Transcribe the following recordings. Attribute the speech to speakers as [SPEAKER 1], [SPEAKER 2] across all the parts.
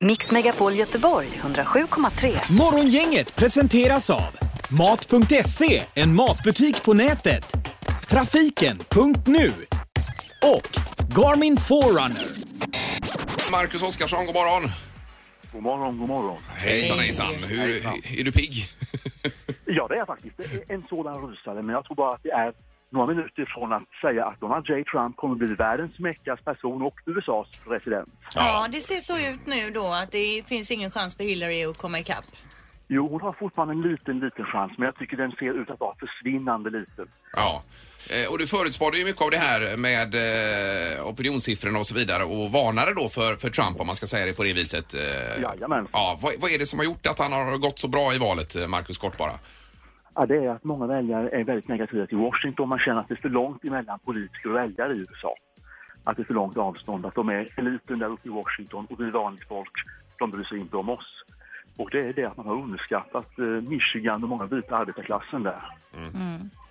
[SPEAKER 1] Mix Megapol Göteborg 107,3.
[SPEAKER 2] Morgongänget presenteras av Mat.se, en matbutik på nätet. Trafiken.nu och Garmin Forerunner.
[SPEAKER 3] Marcus Oskarsson, god morgon.
[SPEAKER 4] God morgon, god morgon.
[SPEAKER 3] Hejsan hejsan. Hur, är du pigg?
[SPEAKER 4] Ja, det är jag faktiskt. Det är en sådan rysare, men jag tror bara att det är några minuter från att säga att Donald J. Trump kommer bli världens mäktigaste person och USAs president.
[SPEAKER 5] Ja, det ser så ut nu då att det finns ingen chans för Hillary att komma ikapp.
[SPEAKER 4] Jo, hon har fortfarande en liten, liten chans, men jag tycker den ser ut att vara försvinnande liten.
[SPEAKER 3] Ja. Eh, Och du förutspådde ju mycket av det här med eh, opinionssiffrorna och så vidare och varnade då för, för Trump om man ska säga det på det viset. eh.
[SPEAKER 4] Jajamän.
[SPEAKER 3] Ja, vad, vad är det som har gjort att han har gått så bra i valet, eh, Marcus Kort bara?
[SPEAKER 4] Ja, det är att många väljare är väldigt negativa till Washington. Man känner att det är för långt emellan politiker och väljare i USA. Att det är för långt avstånd, att de är eliten där uppe i Washington och vi vanligt folk, de bryr sig inte om oss. Och det är det att man har underskattat eh, Michigan och många vita arbetarklassen där.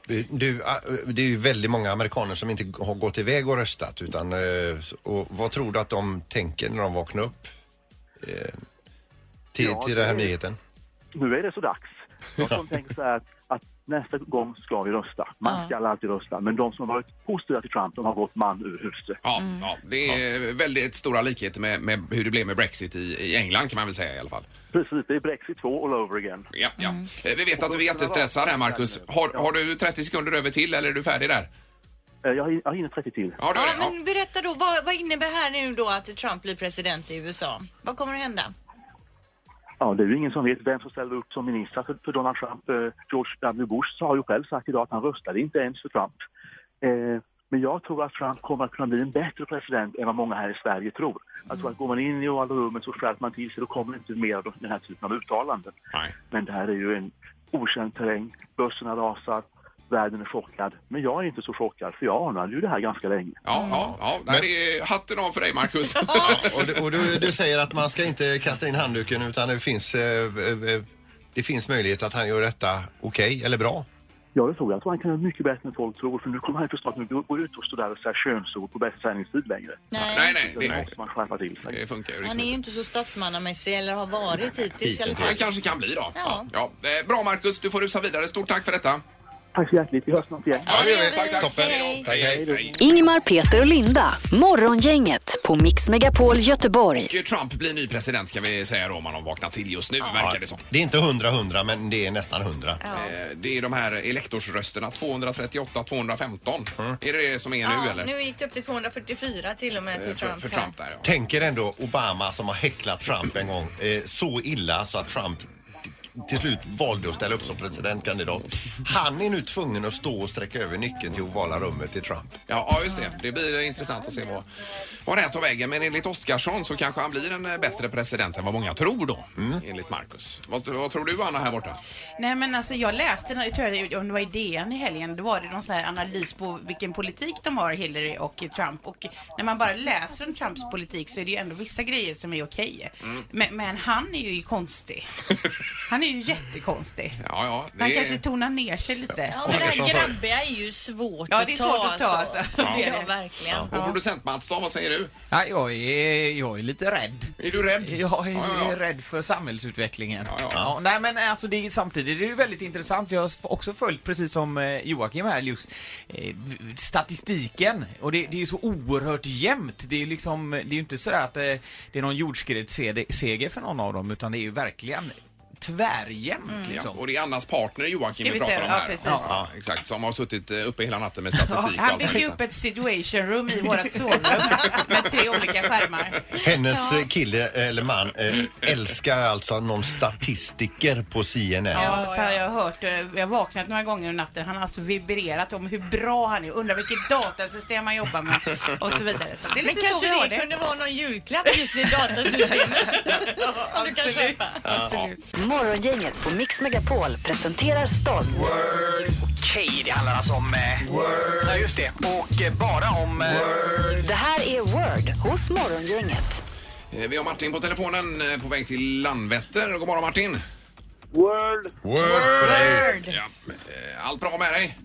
[SPEAKER 6] Du, du, äh, det är ju väldigt många amerikaner som inte har gått iväg och röstat. Utan, eh, och vad tror du att de tänker när de vaknar upp eh, till,
[SPEAKER 4] Ja,
[SPEAKER 6] till den här
[SPEAKER 4] det-
[SPEAKER 6] nyheten?
[SPEAKER 4] nu är det så dags. De som tänker så här att, att nästa gång ska vi rösta. Man ska alltid rösta. Men de som har varit positiva till Trump, de har gått man ur huset.
[SPEAKER 3] Ja, Mm. ja det är väldigt stora likheter med, med hur det blev med Brexit i, i England kan man väl säga i alla fall.
[SPEAKER 4] Precis, det är Brexit 2 all over again.
[SPEAKER 3] Ja, ja. Eh, Vi vet att du är jättestressad här, Marcus. Har, har du 30 sekunder över till eller är du färdig där?
[SPEAKER 4] Eh, Jag, hin- jag hinner 30 till.
[SPEAKER 3] Ja, du är
[SPEAKER 5] Ja,
[SPEAKER 3] det. Ja.
[SPEAKER 5] men berätta då, vad, vad innebär här nu då att Trump blir president i USA? Vad kommer att hända?
[SPEAKER 4] Ja, det är ju ingen som vet vem som ställer upp som minister för, för Donald Trump. Eh, George W. Bush har ju själv sagt idag att han röstade inte ens för Trump. Eh, men jag tror att Trump kommer att kunna bli en bättre president än vad många här i Sverige tror. Jag tror att går man in i Ovala rummet så skärper man till sig. Då kommer inte mer av den här typen av uttalanden.
[SPEAKER 3] Nej.
[SPEAKER 4] Men det här är ju en okänd terräng. Börserna rasar, världen är chockad. Men jag är inte så chockad, för jag anade ju det här ganska länge.
[SPEAKER 3] Ja,
[SPEAKER 5] Mm.
[SPEAKER 3] ja, ja. Nej, det är hatten av för dig, Marcus.
[SPEAKER 6] Och, du, och du, du säger att man ska inte kasta in handduken utan det finns, eh, eh, eh, det finns möjlighet att han gör detta okej eller bra.
[SPEAKER 4] Ja, det tror jag. Jag tror han kan göra mycket bättre än folk tror. För nu kommer han ju förstå att nu går ut och står där och säger könsord på bästa sändningstid längre.
[SPEAKER 3] nej, nej.
[SPEAKER 4] Det
[SPEAKER 3] Det,
[SPEAKER 4] måste man skärpa till sig.
[SPEAKER 3] det funkar ju liksom
[SPEAKER 5] Han är ju
[SPEAKER 3] inte.
[SPEAKER 5] inte så statsmannamässig eller har varit hittills i alla
[SPEAKER 3] Han
[SPEAKER 5] fall.
[SPEAKER 3] kanske kan bli då.
[SPEAKER 5] Ja.
[SPEAKER 3] Eh, Bra, Marcus. Du får rusa vidare. Stort tack för detta.
[SPEAKER 4] Tack så hjärtligt. Vi hörs snart igen.
[SPEAKER 5] Ja, det gör vi.
[SPEAKER 6] Tack, tack. Toppen.
[SPEAKER 5] Hej.
[SPEAKER 6] Tack, hej.
[SPEAKER 1] Ingemar, Peter och Linda. Morgongänget på Mix Megapol Göteborg.
[SPEAKER 3] Och Trump blir ny president ska vi säga då om han har vaknat till just nu, verkar det som.
[SPEAKER 6] Det är inte hundra hundra men det är nästan hundra.
[SPEAKER 3] Eh, Det är de här elektorsrösterna, 238, 215.
[SPEAKER 5] Mm.
[SPEAKER 3] Är det det som är nu
[SPEAKER 5] Ja,
[SPEAKER 3] eller?
[SPEAKER 5] nu gick det upp till 244 till och med
[SPEAKER 3] Eh,
[SPEAKER 5] till
[SPEAKER 3] för,
[SPEAKER 5] Trump.
[SPEAKER 3] för
[SPEAKER 5] här.
[SPEAKER 3] Trump där ja.
[SPEAKER 6] Tänker ändå Obama som har häcklat Trump en gång eh, så illa så att Trump t- till slut valde att ställa upp som presidentkandidat. Han är nu tvungen att stå och sträcka över nyckeln till ovala rummet till Trump.
[SPEAKER 3] ja. Ja, just det. Det blir intressant att se vad, vad det här tar vägen. Men enligt Oskarsson så kanske han blir en eh, bättre president än vad många tror då. Mm. Enligt Marcus. Vad, vad tror du Anna här borta?
[SPEAKER 7] Nej men alltså jag läste, jag tror jag, om det var i DN i helgen, då var det någon sån här analys på vilken politik de har, Hillary och Trump. Och när man bara läser om Trumps politik så är det ju ändå vissa grejer som är okej. Men, men han är ju konstig. Han är ju jättekonstig.
[SPEAKER 3] Ja, ja. Det
[SPEAKER 7] Han
[SPEAKER 3] är-
[SPEAKER 7] kanske tonar ner sig lite.
[SPEAKER 5] Ja, men det
[SPEAKER 6] Oskarsson
[SPEAKER 5] här
[SPEAKER 6] sa-
[SPEAKER 5] grabbiga är ju svårt
[SPEAKER 7] Ja,
[SPEAKER 5] att ta.
[SPEAKER 7] det är svårt att ta alltså.
[SPEAKER 5] Ja,
[SPEAKER 7] Det är det.
[SPEAKER 5] verkligen.
[SPEAKER 3] Och producent Mats då, vad säger du?
[SPEAKER 8] Ja, jag, är, jag är lite rädd.
[SPEAKER 3] Är du rädd?
[SPEAKER 8] Jag är
[SPEAKER 3] Ja, ja.
[SPEAKER 8] rädd för samhällsutvecklingen.
[SPEAKER 3] Ja, ja.
[SPEAKER 8] nej men alltså det är, samtidigt är det ju väldigt intressant för jag har också följt precis som eh, Joakim här just eh, v- statistiken och det, det är ju så oerhört jämnt. Det är ju liksom, det är ju inte sådär att eh, det är någon jordskredsseger för någon av dem utan det är ju verkligen tvärjämnt
[SPEAKER 3] Mm, Ja,
[SPEAKER 8] liksom.
[SPEAKER 3] och det är Annas partner Joakim
[SPEAKER 7] Ska
[SPEAKER 3] vi
[SPEAKER 7] vi
[SPEAKER 3] pratar
[SPEAKER 7] se?
[SPEAKER 3] om
[SPEAKER 7] Ja,
[SPEAKER 3] här.
[SPEAKER 7] precis.
[SPEAKER 3] Ja, exakt, som har suttit eh, uppe hela natten med statistik. och
[SPEAKER 7] Han
[SPEAKER 3] allt
[SPEAKER 7] byggde
[SPEAKER 3] möjligt.
[SPEAKER 7] upp ett situation room i vårat sovrum med tre olika skärmar.
[SPEAKER 6] Hennes eh, kille eller man eh, älskar alltså någon statistiker på CNN.
[SPEAKER 7] Ja, så har jag hört, eh, jag har vaknat några gånger under natten, han har alltså vibrerat om hur bra han är, undrar vilket datasystem han jobbar med och så vidare. Så det är
[SPEAKER 5] Men
[SPEAKER 7] lite så
[SPEAKER 5] kanske
[SPEAKER 7] vi har
[SPEAKER 5] det,
[SPEAKER 7] det.
[SPEAKER 5] kunde vara någon julklapp just i datasystemet som du kan köpa.
[SPEAKER 1] Morgongänget på Mix Megapol presenterar stolt.
[SPEAKER 9] Okej, det handlar alltså om... Eh, Word. Ja, just det. Och eh, bara om... Eh,
[SPEAKER 1] Det här är Word hos Morgongänget.
[SPEAKER 3] Eh, Vi har Martin på telefonen eh, på väg till Landvetter. God morgon Martin!
[SPEAKER 10] World,
[SPEAKER 6] Word på dig.
[SPEAKER 3] Ja. eh, Allt bra med dig?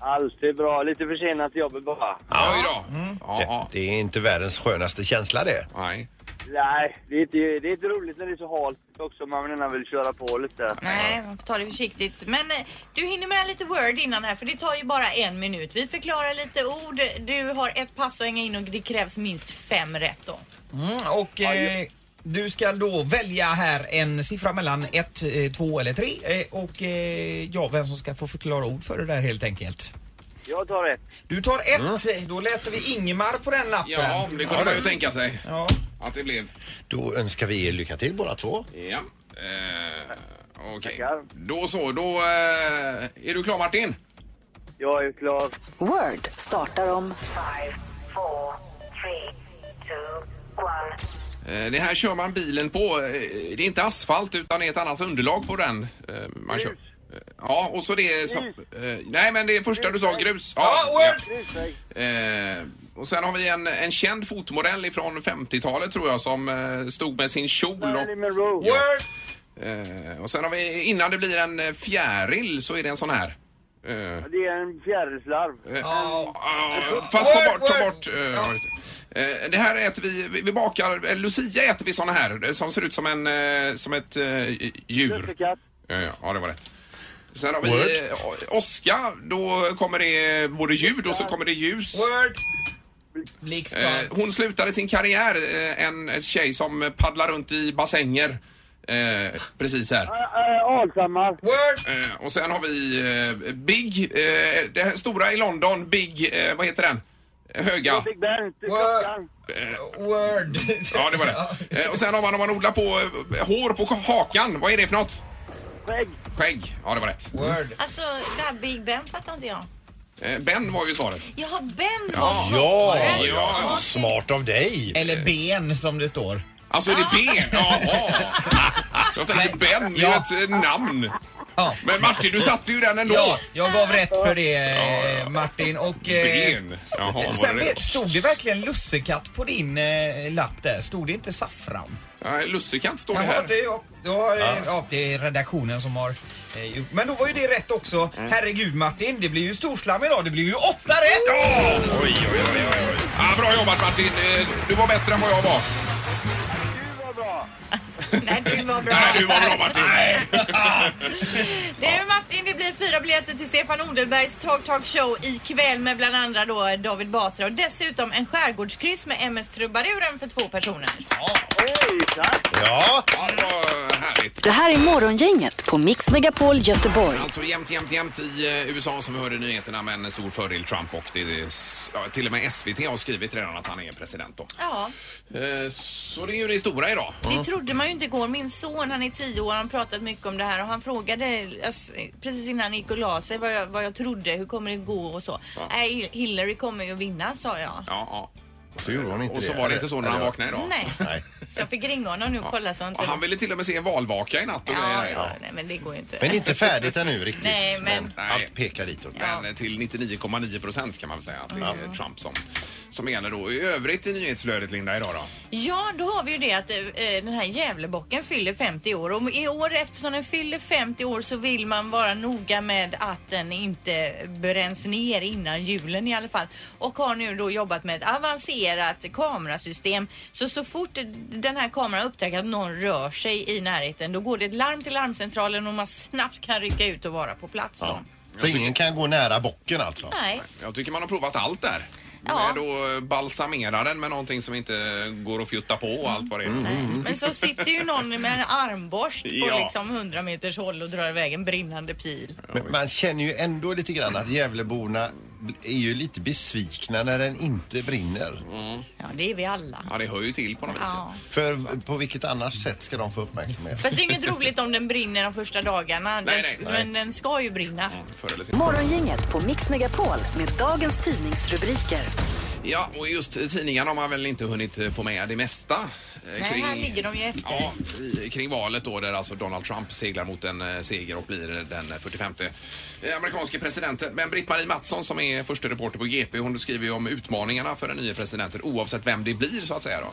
[SPEAKER 10] alltid bra. Lite försenat till jobbet bara.
[SPEAKER 3] Ja. Oj då. Ja, ja.
[SPEAKER 6] Det är inte världens skönaste känsla det.
[SPEAKER 3] Nej.
[SPEAKER 10] Nej, det är, inte, det är inte roligt när det är så halt också. Man gärna vill köra på lite.
[SPEAKER 5] Nej, man får ta det försiktigt. Men eh, du hinner med lite word innan här för det tar ju bara en minut. Vi förklarar lite ord. Du har ett pass att hänga in och det krävs minst fem rätt då.
[SPEAKER 11] Mm, och eh, du ska då välja här en siffra mellan 1, 2 eller 3 eh, och eh, ja, vem som ska få förklara ord för det där helt enkelt.
[SPEAKER 10] Jag tar ett.
[SPEAKER 11] Du tar ett,
[SPEAKER 8] Mm.
[SPEAKER 11] då läser vi Ingmar på den lappen.
[SPEAKER 3] Ja, det kunde man ju tänka sig.
[SPEAKER 11] Ja.
[SPEAKER 3] Att det blev.
[SPEAKER 6] Då önskar vi er lycka till båda två.
[SPEAKER 3] Ja. Eh, Okej. Då så, då eh, är du klar Martin?
[SPEAKER 10] Jag är klar.
[SPEAKER 1] Word startar om
[SPEAKER 3] Eh, det här kör man bilen på. Eh, det är inte asfalt utan det är ett annat underlag på den eh, man kör. Eh, Ja, och så det som, eh, Nej, men det första du sa, grus.
[SPEAKER 10] Ja,
[SPEAKER 3] ja. Eh, och sen har vi en, en känd fotmodell ifrån 50-talet tror jag som eh, stod med sin kjol. Och,
[SPEAKER 10] Word!
[SPEAKER 3] Eh, och sen har vi, innan det blir en eh, fjäril så är det en sån här.
[SPEAKER 10] Det
[SPEAKER 3] Eh,
[SPEAKER 10] är en fjärilslarv.
[SPEAKER 3] Eh, ah, Fast ta bort, ta bort. eh, ja, just det. Eh, Det här äter vi, vi- vi bakar, eh, Lucia äter vi såna här eh, som ser ut som en, eh, som ett eh, djur. Eh, Ja, det var rätt. Sen har vi eh, o- åska, då kommer det både ljud och så kommer det ljus.
[SPEAKER 11] Word!
[SPEAKER 3] Eh, Hon slutade sin karriär, eh, en en tjej som paddlar runt i bassänger. Eh, precis här.
[SPEAKER 10] Alshammar.
[SPEAKER 11] Word!
[SPEAKER 3] Eh, och sen har vi eh, Big, eh, det här stora i London, Big, eh, vad heter den? Höga.
[SPEAKER 10] Big Ben.
[SPEAKER 11] Word!
[SPEAKER 3] Eh,
[SPEAKER 11] Word!
[SPEAKER 3] ja, det var rätt. Eh, och sen har man, om man odlar på eh, hår på hakan, vad är det för något?
[SPEAKER 10] Skägg.
[SPEAKER 3] Skägg. Ja, det var rätt.
[SPEAKER 11] Word!
[SPEAKER 5] Alltså det här Big Ben fattar inte jag.
[SPEAKER 3] Eh, ben var ju svaret.
[SPEAKER 5] Jaha, Ben var
[SPEAKER 3] Ja.
[SPEAKER 6] Ja,
[SPEAKER 5] svaret.
[SPEAKER 3] ja.
[SPEAKER 6] smart av dig.
[SPEAKER 8] Eh.
[SPEAKER 11] Eller ben som det står.
[SPEAKER 3] Alltså, är
[SPEAKER 11] Ah.
[SPEAKER 3] det ben? Jaha. Jag tänkte Ben, det är
[SPEAKER 11] Ja.
[SPEAKER 3] ju ett eh, namn.
[SPEAKER 11] Ja.
[SPEAKER 3] Men Martin, du satte ju den ändå.
[SPEAKER 11] Ja, jag gav rätt för det eh, Martin och... eh,
[SPEAKER 3] Ben. Jaha, var
[SPEAKER 11] Sen
[SPEAKER 3] det
[SPEAKER 11] vet,
[SPEAKER 3] det?
[SPEAKER 11] stod det verkligen lussekatt på din eh, lapp där? Stod det inte saffran?
[SPEAKER 3] Nej, Lussekant står det
[SPEAKER 11] Jaha,
[SPEAKER 3] här.
[SPEAKER 11] det, ja, ja, eh, ja, det är redaktionen som har eh, gjort. Men då var ju det rätt också.
[SPEAKER 8] Mm.
[SPEAKER 11] Herregud Martin, det blir ju storslam idag. Det blir ju åtta rätt!
[SPEAKER 3] Ja! Oj, oj, oj, oj, oj. Ja, bra jobbat Martin. Eh, Du var bättre än vad jag var.
[SPEAKER 5] Nej, du var bra.
[SPEAKER 3] Nej, du var bra Martin.
[SPEAKER 5] Det är Martin, det blir fyra biljetter till Stefan Odelbergs Talk Talk Show ikväll med bland andra då David Batra och dessutom en skärgårdskryss med MS Trubaduren för två personer.
[SPEAKER 10] Hej, tack!
[SPEAKER 6] Ja,
[SPEAKER 3] Ja, det var härligt.
[SPEAKER 1] Det här är Morgongänget på Mix Megapol Göteborg.
[SPEAKER 3] Alltså jämt, jämt, jämt i eh, USA som vi hörde i nyheterna med en stor fördel Trump och det är, ja, till och med SVT har skrivit redan att han är president då.
[SPEAKER 5] Ja,
[SPEAKER 3] Eh, Så det är ju det stora idag.
[SPEAKER 5] det trodde man ju inte igår. Min son, han är tio år, han har pratat mycket om det här och han frågade alltså, precis innan han gick och la sig vad jag, vad jag trodde, hur kommer det gå och så.
[SPEAKER 3] Ja.
[SPEAKER 5] Nej, Hillary kommer ju att vinna, sa jag.
[SPEAKER 3] Ja, ja.
[SPEAKER 6] så gjorde hon inte
[SPEAKER 3] Och så var det inte så när han
[SPEAKER 6] Eller-
[SPEAKER 3] vaknade idag.
[SPEAKER 5] Nej.
[SPEAKER 6] Nej.
[SPEAKER 5] Så jag fick ringa honom nu och kolla så han
[SPEAKER 3] Och
[SPEAKER 5] inte...
[SPEAKER 3] han ville till och med se en valvaka i natt och
[SPEAKER 5] Ja,
[SPEAKER 3] grejer.
[SPEAKER 5] ja, nej men det går ju inte.
[SPEAKER 6] Men inte färdigt ännu riktigt.
[SPEAKER 5] Nej, men-
[SPEAKER 6] Allt pekar ditåt.
[SPEAKER 3] Men eh, till 99,9 procent kan man väl säga att det är Trump som, som gäller då. I övrigt i nyhetsflödet Linda idag då?
[SPEAKER 5] Ja, då har vi ju det att eh, den här Gävlebocken fyller 50 år och i år eftersom den fyller 50 år så vill man vara noga med att den inte bränns ner innan julen i alla fall. Och har nu då jobbat med ett avancerat kamerasystem. Så så fort den här kameran upptäcker att någon rör sig i närheten då går det ett larm till larmcentralen och man snabbt kan rycka ut och vara på plats. Då.
[SPEAKER 6] Ja. Så ingen kan gå nära bocken alltså?
[SPEAKER 5] Nej.
[SPEAKER 3] Jag tycker man har provat allt där.
[SPEAKER 5] Ja.
[SPEAKER 3] Med Då balsamera den med någonting som inte går att fjutta på och allt vad det är.
[SPEAKER 5] Men så sitter ju någon med en armborst på
[SPEAKER 3] Ja.
[SPEAKER 5] liksom 100 meters håll och drar iväg en brinnande pil.
[SPEAKER 6] Men man känner ju ändå lite grann att Gävleborna är ju lite besvikna när den inte brinner.
[SPEAKER 5] Ja, det är vi alla.
[SPEAKER 3] Ja, det hör ju till på något vis.
[SPEAKER 5] Ja.
[SPEAKER 6] För på vilket annat sätt ska de få uppmärksamhet?
[SPEAKER 5] Fast det är inget roligt om den brinner de första dagarna. Den,
[SPEAKER 3] Nej, nej,
[SPEAKER 5] Men den ska ju brinna.
[SPEAKER 3] Förr eller senare.
[SPEAKER 1] Morgongänget på Mix Megapol med dagens tidningsrubriker.
[SPEAKER 3] Ja, och just tidningarna har man väl inte hunnit eh, få med det mesta. eh,
[SPEAKER 5] Nej, här ligger de ju efter.
[SPEAKER 3] Ja, i- kring valet då där alltså Donald Trump seglar mot en eh, seger och blir eh, den eh, 45 eh, amerikanske presidenten. Men Britt-Marie Mattsson som är första reporter på GP hon skriver ju om utmaningarna för den nya presidenten oavsett vem det blir så att säga då.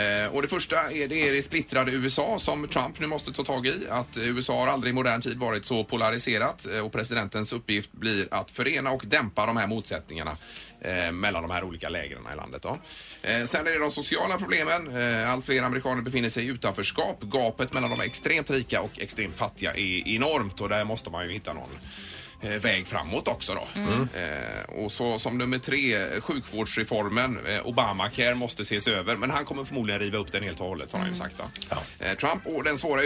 [SPEAKER 3] Eh, och det första är det, är det splittrade USA som Trump nu måste ta tag i. Att eh, USA har aldrig i modern tid varit så polariserat eh, och presidentens uppgift blir att förena och dämpa de här motsättningarna eh, mellan de här olika lägren i landet. Då. Eh, sen är det de sociala problemen. Eh, allt fler amerikaner befinner sig i utanförskap. Gapet mellan de extremt rika och extremt fattiga är enormt och där måste man ju hitta någon eh, väg framåt också då.
[SPEAKER 12] Mm.
[SPEAKER 3] Eh, och så som nummer tre, eh, sjukvårdsreformen. Eh, Obamacare måste ses över, men han kommer förmodligen riva upp den helt och hållet har han ju sagt. Då. Eh, Trump och den svåra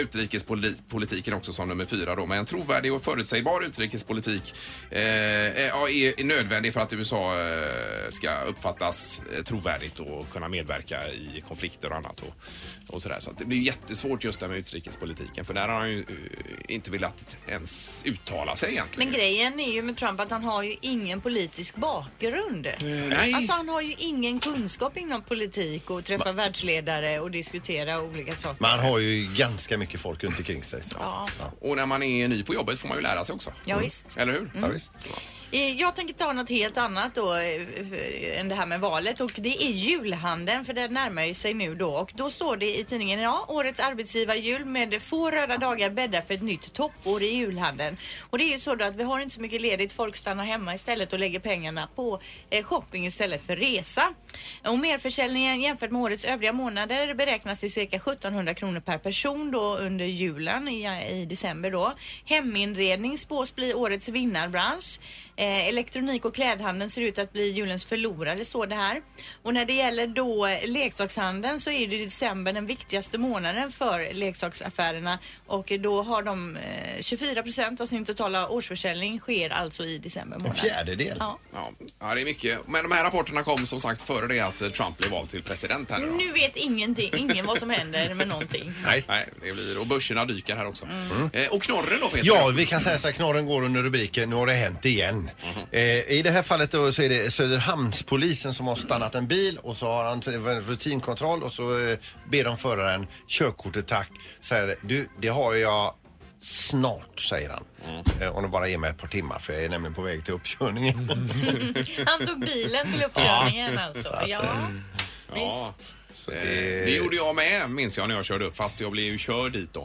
[SPEAKER 3] utrikespolitiken också som nummer fyra då. Men en trovärdig och förutsägbar utrikespolitik eh, eh, ja, är är nödvändig för att USA eh, ska uppfattas eh, trovärdigt och kunna medverka i konflikter och annat. Och, och sådär. Så att det blir ju jättesvårt just det här med utrikespolitiken för där har han ju eh, inte velat ens uttala sig egentligen.
[SPEAKER 5] Men grejen är ju med Trump att han har ju ingen politisk bakgrund.
[SPEAKER 3] Eh, nej.
[SPEAKER 5] Alltså han har ju ingen kunskap inom politik och träffa världsledare och diskutera olika saker.
[SPEAKER 6] Man har ju ganska mycket folk runt omkring sig. Så.
[SPEAKER 5] Ja.
[SPEAKER 3] Och när man är ny på jobbet får man ju lära sig också. Mm.
[SPEAKER 5] Ja, visst. Mm.
[SPEAKER 3] Eller hur?
[SPEAKER 5] Ja, visst. Eh, Jag tänker ta något helt annat då eh, f- än det här med valet och det är julhandeln för den närmar ju sig nu då och då står det i tidningen idag årets arbetsgivarjul med få röda dagar bäddar för ett nytt toppår i julhandeln. Och det är ju så då att vi har inte så mycket ledigt. Folk stannar hemma istället och lägger pengarna på eh, shopping istället för resa. Och merförsäljningen jämfört med årets övriga månader beräknas till cirka 1700 kronor per person då under julen i, i december då. Heminredning spås bli årets vinnarbransch. Eh, elektronik och klädhandeln ser ut att bli julens förlorare står det här. Och när det gäller då leksakshandeln så är det ju december den viktigaste månaden för leksaksaffärerna och då har de eh, 24 procent av sin totala årsförsäljning sker alltså i december månad. Ja.
[SPEAKER 3] Ja. ja, det är mycket. Men de här rapporterna kom som sagt före det att eh, Trump blev vald till president här nu då.
[SPEAKER 5] Nu vet ingenting, ingen vad som händer med någonting.
[SPEAKER 3] Nej. Nej, det blir, och börserna dyker här också. Eh, och knorren då Peter?
[SPEAKER 6] Mm. Ja, vi kan säga så här, knorren går under rubriken Nu har det hänt igen.
[SPEAKER 3] Mhm.
[SPEAKER 6] Eh, I det här fallet då, så är det Söderhamnspolisen som har stannat en bil och så har han en rutinkontroll och så eh, ber de föraren körkortet tack. Säger du, det har jag snart, säger han.
[SPEAKER 3] Mm.
[SPEAKER 6] Eh, om du bara ger mig ett par timmar för jag är nämligen på väg till uppkörningen.
[SPEAKER 3] Mm.
[SPEAKER 5] Han tog bilen till uppkörningen alltså. Ja.
[SPEAKER 3] Ja. Eh, det gjorde jag med minns jag när jag körde upp fast jag blev ju körd dit då.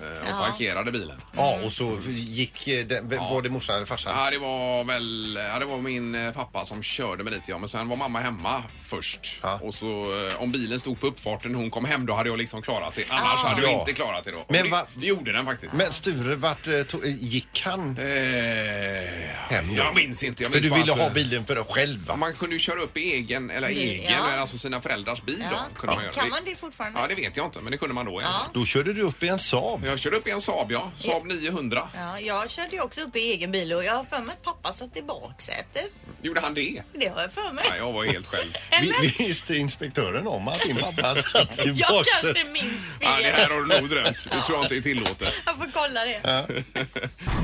[SPEAKER 3] eh, Och
[SPEAKER 5] Ja.
[SPEAKER 3] parkerade bilen.
[SPEAKER 6] Ja, och så gick eh, den, var det morsan eller farsan?
[SPEAKER 3] Ja, det var väl ja, det var min eh, pappa som körde mig dit ja. Men sen var mamma hemma först. Och så eh, om bilen stod på uppfarten när hon kom hem då hade jag liksom klarat det. Annars
[SPEAKER 6] Ah.
[SPEAKER 3] hade jag
[SPEAKER 6] Ja.
[SPEAKER 3] inte klarat det då. Och
[SPEAKER 6] Men
[SPEAKER 3] det,
[SPEAKER 6] va-
[SPEAKER 3] det gjorde den faktiskt.
[SPEAKER 6] Men Sture, vart eh, to- gick han hem då?
[SPEAKER 3] Eh, Jag minns inte. Jag
[SPEAKER 6] För
[SPEAKER 3] minns
[SPEAKER 6] du
[SPEAKER 3] bara
[SPEAKER 6] ville
[SPEAKER 3] att,
[SPEAKER 6] ha
[SPEAKER 3] eh,
[SPEAKER 6] bilen för dig själv va?
[SPEAKER 3] Man kunde ju köra upp i egen, eller
[SPEAKER 5] Det-
[SPEAKER 3] egen,
[SPEAKER 5] ja.
[SPEAKER 3] eller alltså sina föräldrars bil
[SPEAKER 5] Ja.
[SPEAKER 3] då. Kunde man göra.
[SPEAKER 5] Kan man det fortfarande?
[SPEAKER 3] Ja, det vet jag inte, men det kunde man då.
[SPEAKER 5] Ja.
[SPEAKER 6] Då körde du upp i en Saab.
[SPEAKER 3] Jag körde upp i en Saab, ja. Saab 900.
[SPEAKER 5] Ja, jag körde ju också upp i egen bil och jag har för mig att pappa satt i baksätet.
[SPEAKER 3] Gjorde han det?
[SPEAKER 5] Det har jag för mig.
[SPEAKER 3] Nej, jag var helt själv.
[SPEAKER 6] Vi, vi visste inspektören om att din pappa satt i
[SPEAKER 5] Jag
[SPEAKER 6] baksätet.
[SPEAKER 5] kanske minns fel.
[SPEAKER 3] Ja, det här har du nog drömt. Det tror jag inte är tillåtet.
[SPEAKER 5] Jag får kolla det.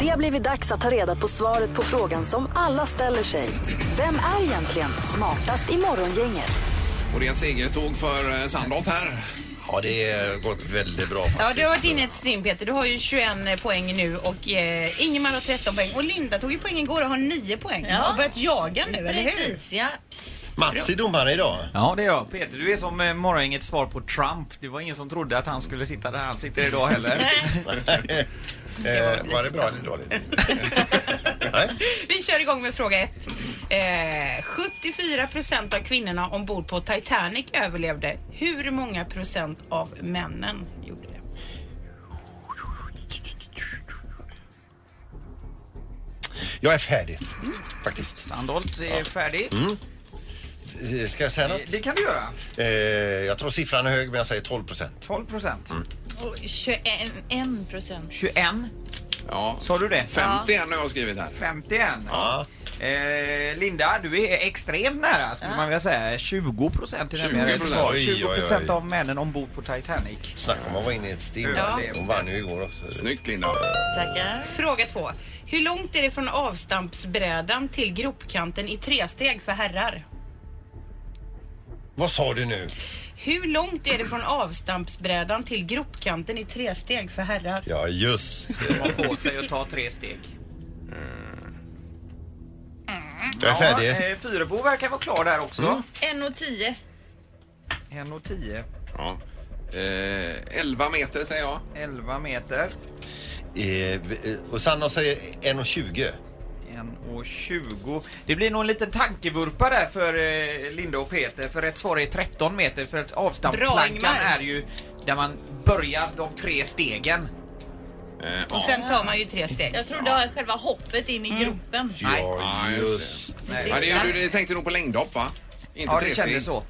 [SPEAKER 1] Det har blivit dags att ta reda på svaret på frågan som alla ställer sig. Vem är egentligen smartast i morgongänget?
[SPEAKER 3] Och det är ett segertåg för eh, Sandholt här.
[SPEAKER 6] Ja, det har gått väldigt bra
[SPEAKER 7] Ja, du har varit inne ett stim Peter. Du har ju 21 poäng nu och eh, Ingemar har 13 poäng. Och Linda tog ju poäng igår och har 9 poäng.
[SPEAKER 5] Ja.
[SPEAKER 7] Har börjat jaga nu, eller hur?
[SPEAKER 5] Precis, ja.
[SPEAKER 6] Mats är domare idag.
[SPEAKER 8] Ja, det är jag. Peter, du är som eh, morgongängets svar på Trump. Det var ingen som trodde att han skulle sitta där han sitter idag heller.
[SPEAKER 6] Eh, var det bra eller dåligt?
[SPEAKER 7] Vi kör igång med fråga ett. Eh, 74 procent av kvinnorna ombord på Titanic överlevde. Hur många procent av männen gjorde det?
[SPEAKER 6] Jag är färdig, faktiskt.
[SPEAKER 8] Sandholt är färdig.
[SPEAKER 6] Mm. Eh, Ska jag säga något?
[SPEAKER 8] Det kan du göra.
[SPEAKER 6] Eh, jag tror siffran är hög, men jag säger 12 procent.
[SPEAKER 8] 12 procent.
[SPEAKER 6] Mm.
[SPEAKER 5] Och 21 procent.
[SPEAKER 8] 21.
[SPEAKER 3] Ja.
[SPEAKER 8] Sa du det?
[SPEAKER 3] 51 har jag skrivit här.
[SPEAKER 8] 51. Eh, Linda, du är extremt nära skulle man vilja säga. 20 procent är nämligen rätt
[SPEAKER 6] 20%.
[SPEAKER 8] svar.
[SPEAKER 6] Oj, oj, oj.
[SPEAKER 8] 20 procent av männen ombord på Titanic.
[SPEAKER 6] Snacka om att vara inne i ett stim.
[SPEAKER 7] Ja.
[SPEAKER 6] Hon vann ju igår också.
[SPEAKER 3] Snyggt Linda.
[SPEAKER 5] Tackar.
[SPEAKER 7] Fråga två. Hur långt är det från avstampsbrädan till gropkanten i tresteg för herrar?
[SPEAKER 6] Vad sa du nu?
[SPEAKER 7] Hur långt är det från avstampsbrädan till gropkanten i tresteg för herrar?
[SPEAKER 6] Ja, just
[SPEAKER 8] Komma på sig och ta tre steg.
[SPEAKER 6] Jag är färdig. Mm.
[SPEAKER 8] Ja, eh, Fyrebo verkar vara klar där också.
[SPEAKER 5] 1 och 10.
[SPEAKER 8] 1 och 10.
[SPEAKER 3] Ja. Eh, 11 meter säger jag.
[SPEAKER 8] 11 meter.
[SPEAKER 6] Eh, eh, och Sanna säger 1,20.
[SPEAKER 8] 1 1,20. Det blir nog en liten tankevurpa där för eh, Linda och Peter, för rätt svar är 13 meter, för att
[SPEAKER 7] Bra,
[SPEAKER 8] avstampplankan
[SPEAKER 7] Ingmar.
[SPEAKER 8] är ju där man börjar de tre stegen.
[SPEAKER 3] Eh,
[SPEAKER 7] Och sen tar man ju tre steg.
[SPEAKER 5] Jag trodde det var själva hoppet in i gropen.
[SPEAKER 3] Ja, just det. Mm. Ja, det, du, du tänkte nog på längdhopp va? Inte
[SPEAKER 8] Ja, det
[SPEAKER 3] tresteg.
[SPEAKER 8] kändes så.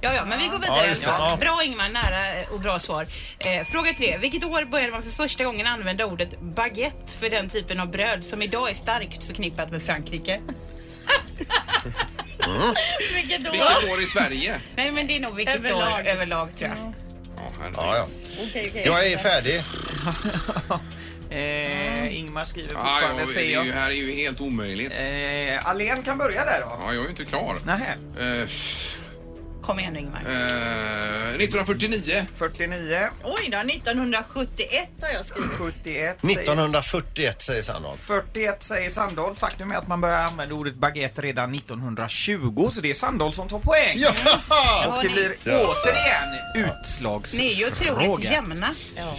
[SPEAKER 7] Ja, ja, men vi går
[SPEAKER 3] Ja,
[SPEAKER 7] vidare.
[SPEAKER 3] just det. Ja.
[SPEAKER 7] Bra Ingmar, nära eh, och bra svar. Eh, fråga tre. Vilket år började man för första gången använda ordet baguette för den typen av bröd som idag är starkt förknippat med Frankrike?
[SPEAKER 5] Vilket då?
[SPEAKER 3] Vilket år i Sverige?
[SPEAKER 7] Nej, men det är nog vilket
[SPEAKER 5] Överlag.
[SPEAKER 7] år överlag tror jag.
[SPEAKER 3] Ja,
[SPEAKER 6] Ja, ja.
[SPEAKER 5] Okej, okej.
[SPEAKER 6] Jag är färdig.
[SPEAKER 8] Eh, Ingmar skriver
[SPEAKER 3] Ja,
[SPEAKER 8] fortfarande,
[SPEAKER 3] ja, det
[SPEAKER 8] ser
[SPEAKER 3] är ju,
[SPEAKER 8] jag.
[SPEAKER 3] här är ju helt omöjligt.
[SPEAKER 8] Eh, Alen kan börja där då.
[SPEAKER 3] Ja, jag är ju inte klar.
[SPEAKER 8] Nähä.
[SPEAKER 3] Eh,
[SPEAKER 7] Kom igen nu Ingmar.
[SPEAKER 3] eh, 1949.
[SPEAKER 8] 49,
[SPEAKER 5] Oj då, 1971 har jag skrivit.
[SPEAKER 8] 71 säger...
[SPEAKER 6] 1941 säger Sandholt.
[SPEAKER 8] 41 säger Sandholt. Faktum är att man började använda ordet baguette redan 1920 så det är Sandholt som tar poäng.
[SPEAKER 6] Ja!
[SPEAKER 8] Och det blir återigen utslagsfråga.
[SPEAKER 7] Ni är ju otroligt jämna.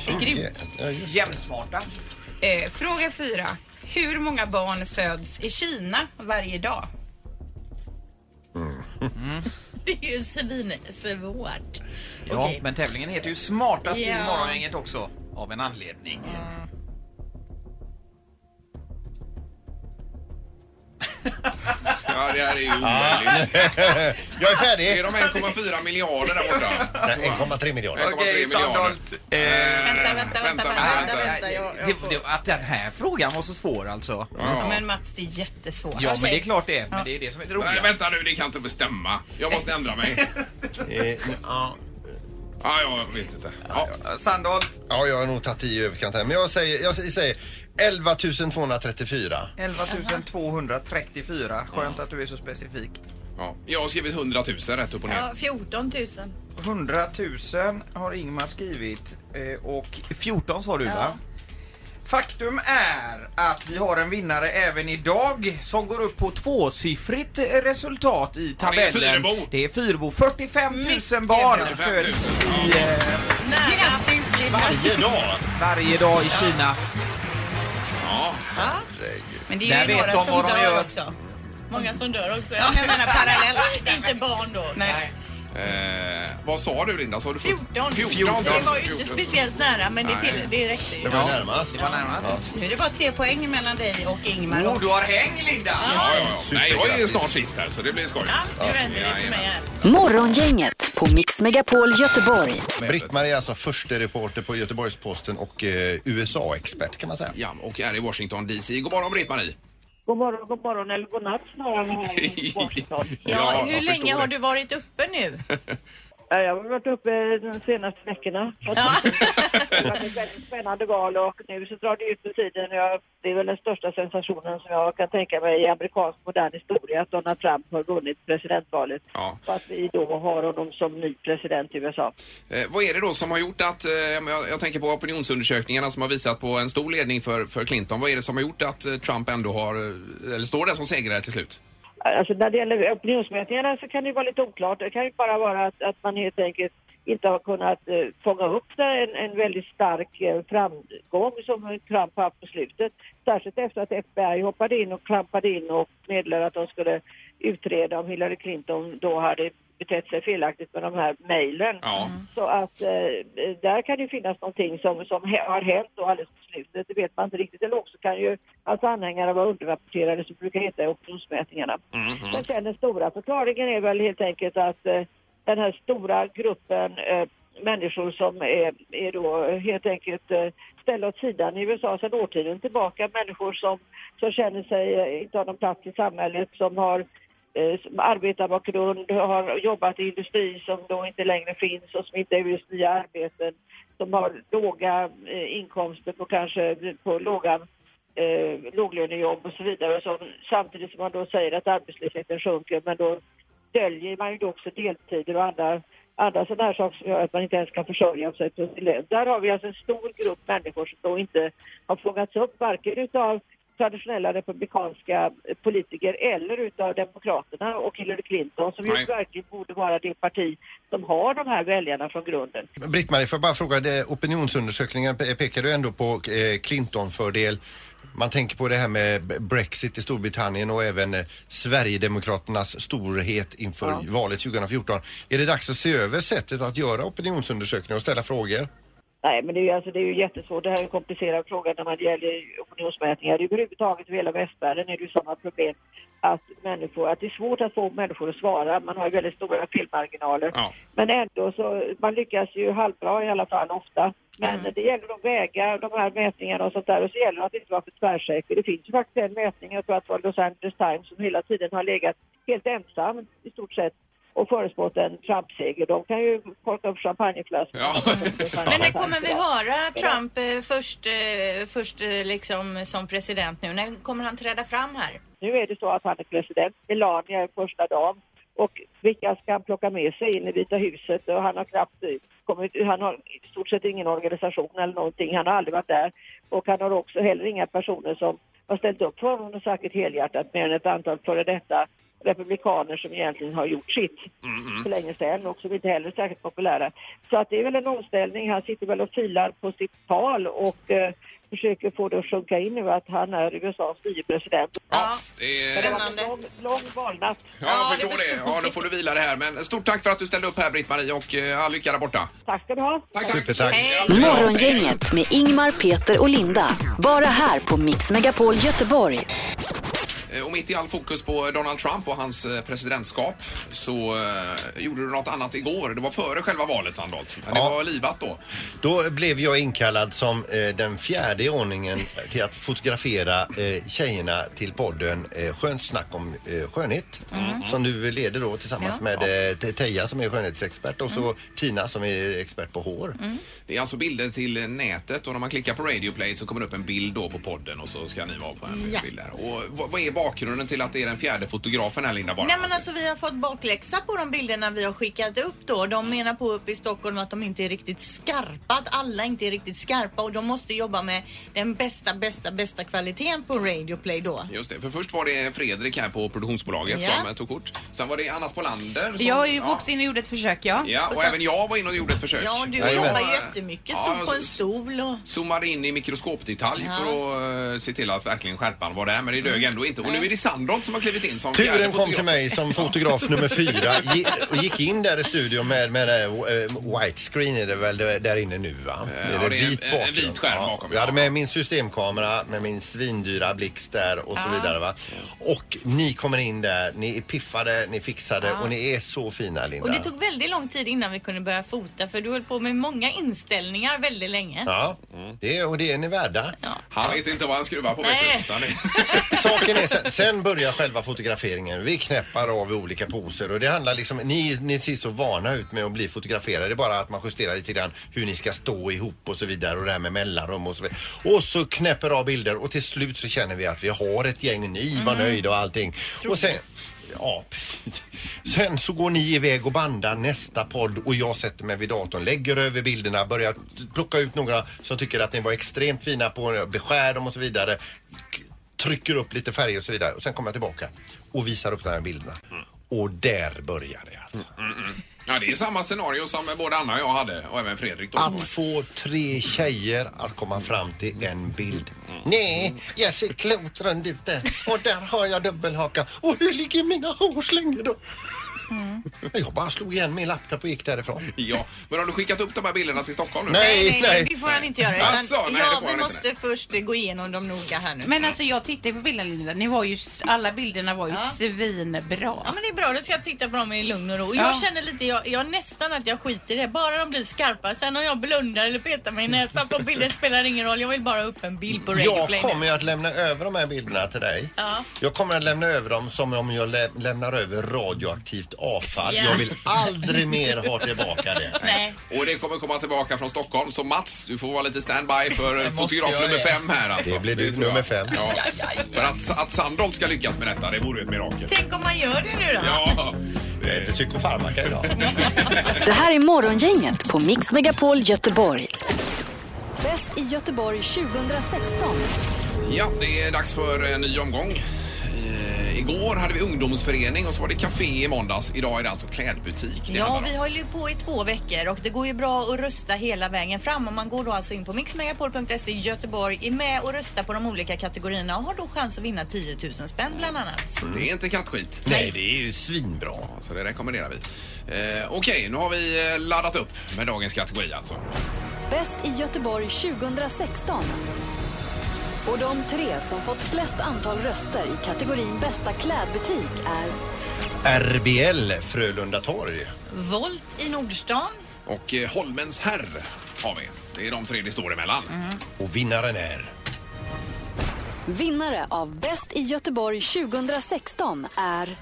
[SPEAKER 7] Det är grymt.
[SPEAKER 6] Ja, just.
[SPEAKER 8] Jämnsmarta.
[SPEAKER 7] Eh, fråga fyra. Hur många barn föds i Kina varje dag?
[SPEAKER 5] Det är ju svinsvårt.
[SPEAKER 8] Ja,
[SPEAKER 5] Okej.
[SPEAKER 8] men tävlingen heter ju Smartast
[SPEAKER 5] Ja.
[SPEAKER 8] i Morgongänget också. Av en anledning.
[SPEAKER 3] Ja, det här är ju omöjligt.
[SPEAKER 6] Jag är
[SPEAKER 3] Det är
[SPEAKER 6] färdig.
[SPEAKER 3] de 1,4 miljarder där borta. Eh,
[SPEAKER 6] Nej, 1,3 miljarder.
[SPEAKER 3] 1,3 miljarder.
[SPEAKER 8] Sandholt.
[SPEAKER 3] Eh,
[SPEAKER 7] Vänta, vänta, vänta,
[SPEAKER 3] vänta.
[SPEAKER 5] vänta.
[SPEAKER 8] Nej,
[SPEAKER 5] jag- jag
[SPEAKER 8] det,
[SPEAKER 5] får-
[SPEAKER 8] det, att den här frågan var så svår alltså. Ja,
[SPEAKER 3] Ja.
[SPEAKER 7] Men Mats, det är jättesvårt.
[SPEAKER 8] men det är klart det är. Men det är det som är det
[SPEAKER 3] Nej,
[SPEAKER 8] roliga.
[SPEAKER 3] vänta nu, det kan inte bestämma. Jag måste ändra mig.
[SPEAKER 6] Eh, ja.
[SPEAKER 3] Ja, jag vet inte. Ja.
[SPEAKER 8] Sandholt,
[SPEAKER 6] Ja, jag har nog tagit i överkant här. Men jag säger, jag säger 11 234.
[SPEAKER 8] 11 234. Skönt att du är så specifik.
[SPEAKER 3] Ja. Jag har skrivit 100 000 rätt upp och ner.
[SPEAKER 5] Ja, 14 000.
[SPEAKER 8] 100 000 har Ingmar skrivit eh, och 14 sa du va? Faktum är att vi har en vinnare även idag som går upp på tvåsiffrigt resultat i
[SPEAKER 3] Ja, det är
[SPEAKER 8] tabellen.
[SPEAKER 3] Fyrebo.
[SPEAKER 8] Det är Fyrebo. 45 000 barn
[SPEAKER 3] 45 000.
[SPEAKER 8] föds i, eh,
[SPEAKER 7] Grattis Linda!
[SPEAKER 6] Varje dag.
[SPEAKER 8] varje dag i Kina.
[SPEAKER 7] Men det
[SPEAKER 8] Där
[SPEAKER 7] är ju
[SPEAKER 8] vet
[SPEAKER 7] några
[SPEAKER 8] de
[SPEAKER 7] som
[SPEAKER 8] vad de
[SPEAKER 7] dör
[SPEAKER 8] gör.
[SPEAKER 7] också.
[SPEAKER 5] Många som dör också.
[SPEAKER 7] Ja, jag menar parallellt.
[SPEAKER 5] Inte barn då.
[SPEAKER 7] Nej.
[SPEAKER 3] Eh, vad sa du, Linda? Sa du
[SPEAKER 5] 14.
[SPEAKER 3] 14 000.
[SPEAKER 5] Det var ju inte speciellt nära, men det, till, det räckte
[SPEAKER 6] Det
[SPEAKER 5] ju.
[SPEAKER 6] var närmast.
[SPEAKER 8] Det var närmast.
[SPEAKER 7] Nu är det bara tre poäng mellan dig och Ingmar.
[SPEAKER 8] Oh, du har häng Linda!
[SPEAKER 3] Ja, ja, ja. Nej, jag är snart sist här, så det blir skoj.
[SPEAKER 5] Ja, nu vänder det till mig här.
[SPEAKER 1] Morgongänget på Mix Megapol Göteborg.
[SPEAKER 6] Britt-Marie är alltså förste reporter på Göteborgs-Posten och eh, USA-expert kan man säga.
[SPEAKER 3] Ja, och är i Washington DC. God morgon Britt-Marie!
[SPEAKER 12] God morgon, god morgon eller god natt snarare här i Washington.
[SPEAKER 5] Ja, hur
[SPEAKER 3] jag förstår
[SPEAKER 5] länge har
[SPEAKER 3] det.
[SPEAKER 5] du varit uppe nu?
[SPEAKER 12] Ja, Jag har varit uppe de senaste veckorna. Det var ett väldigt spännande val och nu så drar det ut på tiden. Jag, det är väl den största sensationen som jag kan tänka mig i amerikansk modern historia att Donald Trump har vunnit presidentvalet.
[SPEAKER 3] Ja.
[SPEAKER 12] Och att vi då har honom som ny president i USA.
[SPEAKER 3] Eh, vad är det då som har gjort att, eh, jag, jag tänker på opinionsundersökningarna som har visat på en stor ledning för, för Clinton. Vad är det som har gjort att eh, Trump ändå har, eh, eller står där som segrare till slut?
[SPEAKER 12] Alltså när det gäller opinionsmätningarna så kan det ju vara lite oklart. Det kan ju bara vara att, att man helt enkelt inte har kunnat eh, fånga upp där en, en väldigt stark eh, framgång som Trump har haft på slutet. Särskilt efter att FBI hoppade in och klampade in och meddelade att de skulle utreda om Hillary Clinton då hade betett sig felaktigt med de här mejlen.
[SPEAKER 3] Ja.
[SPEAKER 12] Så att eh, där kan det ju finnas någonting som, som hä- har hänt då alldeles på slutet. Det vet man inte riktigt. Eller också kan ju hans anhängare vara underrapporterade som brukar heta i opinionsmätningarna. Men sen den stora förklaringen är väl helt enkelt att eh, den här stora gruppen eh, människor som är, är då helt enkelt eh, ställda åt sidan i USA sedan årtionden tillbaka. Människor som, som känner sig eh, inte ha någon plats i samhället, som har eh, som arbetarbakgrund, har jobbat i industri som då inte längre finns och som inte erbjuds nya arbeten, som har låga eh, inkomster på kanske på låga eh, låglönejobb och så vidare. Som, samtidigt som man då säger att arbetslösheten sjunker men då döljer man ju då också deltider och andra, andra sådana här saker som gör att man inte ens kan försörja sig på sin lön. Där har vi alltså en stor grupp människor som då inte har fångats upp varken utav traditionella republikanska eh, politiker eller utav demokraterna och Hillary Clinton som ju
[SPEAKER 3] Nej.
[SPEAKER 12] verkligen borde vara det parti som har de här väljarna från grunden.
[SPEAKER 6] Britt-Marie, får jag bara fråga, det, opinionsundersökningen pe- pekar du ändå på eh, Clinton-fördel Man tänker på det här med b- Brexit i Storbritannien och även eh, Sverigedemokraternas storhet inför valet 2014. Är det dags att se över sättet att göra opinionsundersökningar och ställa frågor?
[SPEAKER 12] Nej, men det är, ju, alltså, det är ju jättesvårt. Det här är en komplicerad fråga när man gäller opinionsmätningar. Överhuvudtaget i hela västvärlden är det ju samma problem. Att, människor, att det är svårt att få människor att svara. Man har ju väldigt stora felmarginaler. Men ändå så, man lyckas ju halvbra i alla fall ofta. Men det gäller att väga de här mätningarna och sånt där. Och så gäller det att inte vara för tvärsäker. Det finns ju faktiskt en mätning, jag tror att det var Los Angeles Times, som hela tiden har legat helt ensam i stort sett och förespått en Trump-seger. De kan ju korka upp champagneflaskor.
[SPEAKER 5] Men när kommer vi höra Trump eh, först, eh, först eh, liksom som president nu? När kommer han träda fram här?
[SPEAKER 12] Nu är det så att han är president. Melania är första dagen. Och vilka ska han plocka med sig in i Vita huset? Och han har knappt eh, kommit, han har i stort sett ingen organisation eller någonting. Han har aldrig varit där. Och han har också heller inga personer som har ställt upp för honom säkert helhjärtat mer än ett antal före detta republikaner som egentligen har gjort sitt för länge sedan och som inte heller är särskilt populära. Så att det är väl en omställning. Han sitter väl och filar på sitt tal och eh, försöker få det att sjunka in nu att han är USAs nye president.
[SPEAKER 3] Ja, det
[SPEAKER 12] Så det var
[SPEAKER 3] är...
[SPEAKER 12] en lång, lång valnatt.
[SPEAKER 3] Ja, jag förstår det. Ja, nu får du vila det här. Men stort tack för att du ställde upp här, Britt-Marie, och eh, all lycka där borta.
[SPEAKER 12] Tack ska du ha.
[SPEAKER 6] Supertack.
[SPEAKER 1] Morgongänget med Ingmar, Peter och Linda. Bara här på Mix Megapol Göteborg.
[SPEAKER 3] Eh, Och mitt i all fokus på Donald Trump och hans eh, presidentskap så eh, gjorde du något annat igår. Det var före själva valet, Sandholt. Men det var livat då.
[SPEAKER 6] Då blev jag inkallad som eh, den fjärde i ordningen till att fotografera eh, tjejerna till podden eh, Skönt snack om eh, skönhet.
[SPEAKER 13] Mm.
[SPEAKER 6] Som du leder då tillsammans
[SPEAKER 13] Ja. Mm.
[SPEAKER 6] med eh, Te- Teija som är skönhetsexpert och så Tina som är expert på hår.
[SPEAKER 3] Det är alltså bilder till eh, nätet och när man klickar på Radio Play så kommer det upp en bild då på podden och så ska ni vara på en
[SPEAKER 5] Ja.
[SPEAKER 3] bild där. Och vad, vad är bakgrunden till att det är den fjärde fotografen här, Linda? Bara?
[SPEAKER 5] Nej men alltså vi har fått bakläxa på de bilderna vi har skickat upp då. De menar på uppe i Stockholm att de inte är riktigt skarpa, att alla inte är riktigt skarpa och de måste jobba med den bästa, bästa, bästa kvaliteten på Radio Play då.
[SPEAKER 3] Just det, för först var det Fredrik här på produktionsbolaget
[SPEAKER 5] Ja.
[SPEAKER 3] som eh, tog kort. Sen var det Anna Spolander. Som,
[SPEAKER 7] Jag ju också in och gjorde ett försök, ja.
[SPEAKER 3] Ja, och även jag var inne och gjorde ett försök.
[SPEAKER 5] Ja, du
[SPEAKER 3] Jag,
[SPEAKER 5] jobbar
[SPEAKER 3] eh,
[SPEAKER 5] jättemycket,
[SPEAKER 3] ja,
[SPEAKER 5] stod på en
[SPEAKER 13] alltså,
[SPEAKER 3] så-
[SPEAKER 5] stol och...
[SPEAKER 3] Zoomade in i mikroskopdetalj
[SPEAKER 5] Ja.
[SPEAKER 3] för att eh, se till att verkligen skärpan var där, men det dög ändå inte. Och nu är det Sandholt som har klivit in som fjärde
[SPEAKER 6] Turen kom
[SPEAKER 3] fotograf.
[SPEAKER 6] till mig som fotograf nummer fyra Gi- och gick in där i studion med, med eh, white screen är det väl det- där inne nu va?
[SPEAKER 3] Eh, ja, det är en- en vit skärm bakom,
[SPEAKER 6] Jag hade med min systemkamera med min svindyra blixt där och så
[SPEAKER 3] Ja.
[SPEAKER 6] vidare va. Och ni kommer in där, ni är piffade, ni fixade
[SPEAKER 5] Ja.
[SPEAKER 6] och ni är så fina Linda.
[SPEAKER 5] Och det tog väldigt lång tid innan vi kunde börja fota för du höll på med många inställningar väldigt länge.
[SPEAKER 6] Ja, det, och det är ni värda.
[SPEAKER 3] Han vet inte vad han skruvar på.
[SPEAKER 5] Nej.
[SPEAKER 3] Vet du, utan det-
[SPEAKER 6] Saken är, sen, sen börjar själva fotograferingen. Vi knäppar av i olika poser och det handlar liksom, ni, ni ser så vana ut med att bli fotograferade. Det är bara att man justerar lite grann hur ni ska stå ihop och så vidare och det här med mellanrum och så vidare. Och så knäpper av bilder och till slut så känner vi att vi har ett gäng, ni var nöjda och allting. Och sen, ja precis. Sen så går ni iväg och bandar nästa podd och jag sätter mig vid datorn, lägger över bilderna, börjar t- plocka ut några som tycker att ni var extremt fina på beskär dem och så vidare trycker upp lite färger och så vidare. Och sen kommer jag tillbaka och visar upp de här bilderna. Och där börjar det alltså.
[SPEAKER 3] Ja, det är samma scenario som både Anna och jag hade och även Fredrik då.
[SPEAKER 6] Att få tre tjejer att komma fram till en bild. Nej, jag ser klotrund ute och där har jag dubbelhaka. Och hur ligger mina hårslingor då?
[SPEAKER 5] Mm.
[SPEAKER 6] Jag bara slog igen min laptop och gick därifrån.
[SPEAKER 3] Ja, men har du skickat upp de här bilderna till Stockholm nu?
[SPEAKER 5] nej, nej, det får han inte göra. Utan,
[SPEAKER 3] Alltså, nej, det
[SPEAKER 5] ja,
[SPEAKER 3] får han
[SPEAKER 5] vi
[SPEAKER 3] inte.
[SPEAKER 5] måste först eh, gå igenom dem noga här nu.
[SPEAKER 7] Men alltså jag tittade på bilderna Linda, ni var ju, s- alla bilderna var ju
[SPEAKER 5] Ja.
[SPEAKER 7] svinbra.
[SPEAKER 5] Ja men det är bra, då ska jag titta på dem i lugn och ro. Och
[SPEAKER 7] Ja.
[SPEAKER 5] Jag känner lite, jag, jag nästan att jag skiter i det. Bara de blir skarpa. Sen om jag blundar eller petar mig i näsan på bilden spelar ingen roll. Jag vill bara ha upp en bild på
[SPEAKER 6] Jag
[SPEAKER 5] Radioplay.
[SPEAKER 6] kommer ju att lämna över de här bilderna till dig.
[SPEAKER 5] Ja.
[SPEAKER 6] Jag kommer att lämna över dem som om jag lä- lämnar över radioaktivt avfall.
[SPEAKER 3] Ja.
[SPEAKER 6] Jag vill aldrig mer ha tillbaka det.
[SPEAKER 5] Nej.
[SPEAKER 3] Och det kommer komma tillbaka från Stockholm. Så Mats, du får vara lite standby för eh,
[SPEAKER 6] Det måste
[SPEAKER 3] fotograf
[SPEAKER 6] jag
[SPEAKER 3] nummer
[SPEAKER 6] är.
[SPEAKER 3] fem här alltså.
[SPEAKER 6] Det blir du
[SPEAKER 3] tror jag.
[SPEAKER 6] nummer fem.
[SPEAKER 3] Ja. För att, att Sandholt ska lyckas med detta, det vore ju ett mirakel.
[SPEAKER 5] Tänk om man gör det nu då.
[SPEAKER 3] Ja.
[SPEAKER 6] Jag är inte psykofarmaka idag.
[SPEAKER 1] Det här är Morgongänget på Mix Megapol Göteborg. Bäst i Göteborg 2016.
[SPEAKER 3] Ja, det är dags för en ny omgång. Eh, Igår hade vi ungdomsförening och så var det café i måndags. Idag är det alltså klädbutik det
[SPEAKER 5] Ja,
[SPEAKER 3] handlar om.
[SPEAKER 5] vi håller ju på i två veckor och det går ju bra att rösta hela vägen fram. Och man går då alltså in på mixmegapol.se i Göteborg, är med och röstar på de olika kategorierna och har då chans att vinna 10 000 spänn bland annat.
[SPEAKER 3] Det är inte kattskit. Nej, det är ju svinbra. Så det rekommenderar vi. Eh, Okej, nu har vi eh, laddat upp med dagens kategori alltså.
[SPEAKER 1] Bäst i Göteborg 2016. Och de tre som fått flest antal röster i kategorin bästa klädbutik är
[SPEAKER 6] RBL Frölunda torg.
[SPEAKER 5] Volt i Nordstan.
[SPEAKER 3] Och eh, Holmens herr har vi. Det är de tre det står emellan.
[SPEAKER 6] Och vinnaren är...
[SPEAKER 1] vinnare av Bäst i Göteborg 2016 är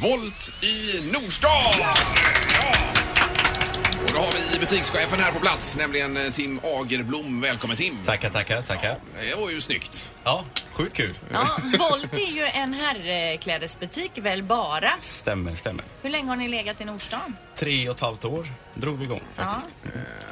[SPEAKER 3] Volt i Nordstan! Ja! Och då har vi butikschefen här på plats, nämligen eh, Tim Agerblom. Välkommen Tim!
[SPEAKER 13] Tackar, tackar, tackar.
[SPEAKER 3] Det var ju snyggt.
[SPEAKER 13] Ja, sjukt kul.
[SPEAKER 5] Ja, Volt är ju en herrklädesbutik väl bara.
[SPEAKER 13] Stämmer, stämmer.
[SPEAKER 5] Hur länge har ni legat i Nordstan?
[SPEAKER 13] Tre och ett halvt år drog vi igång.
[SPEAKER 5] Ja.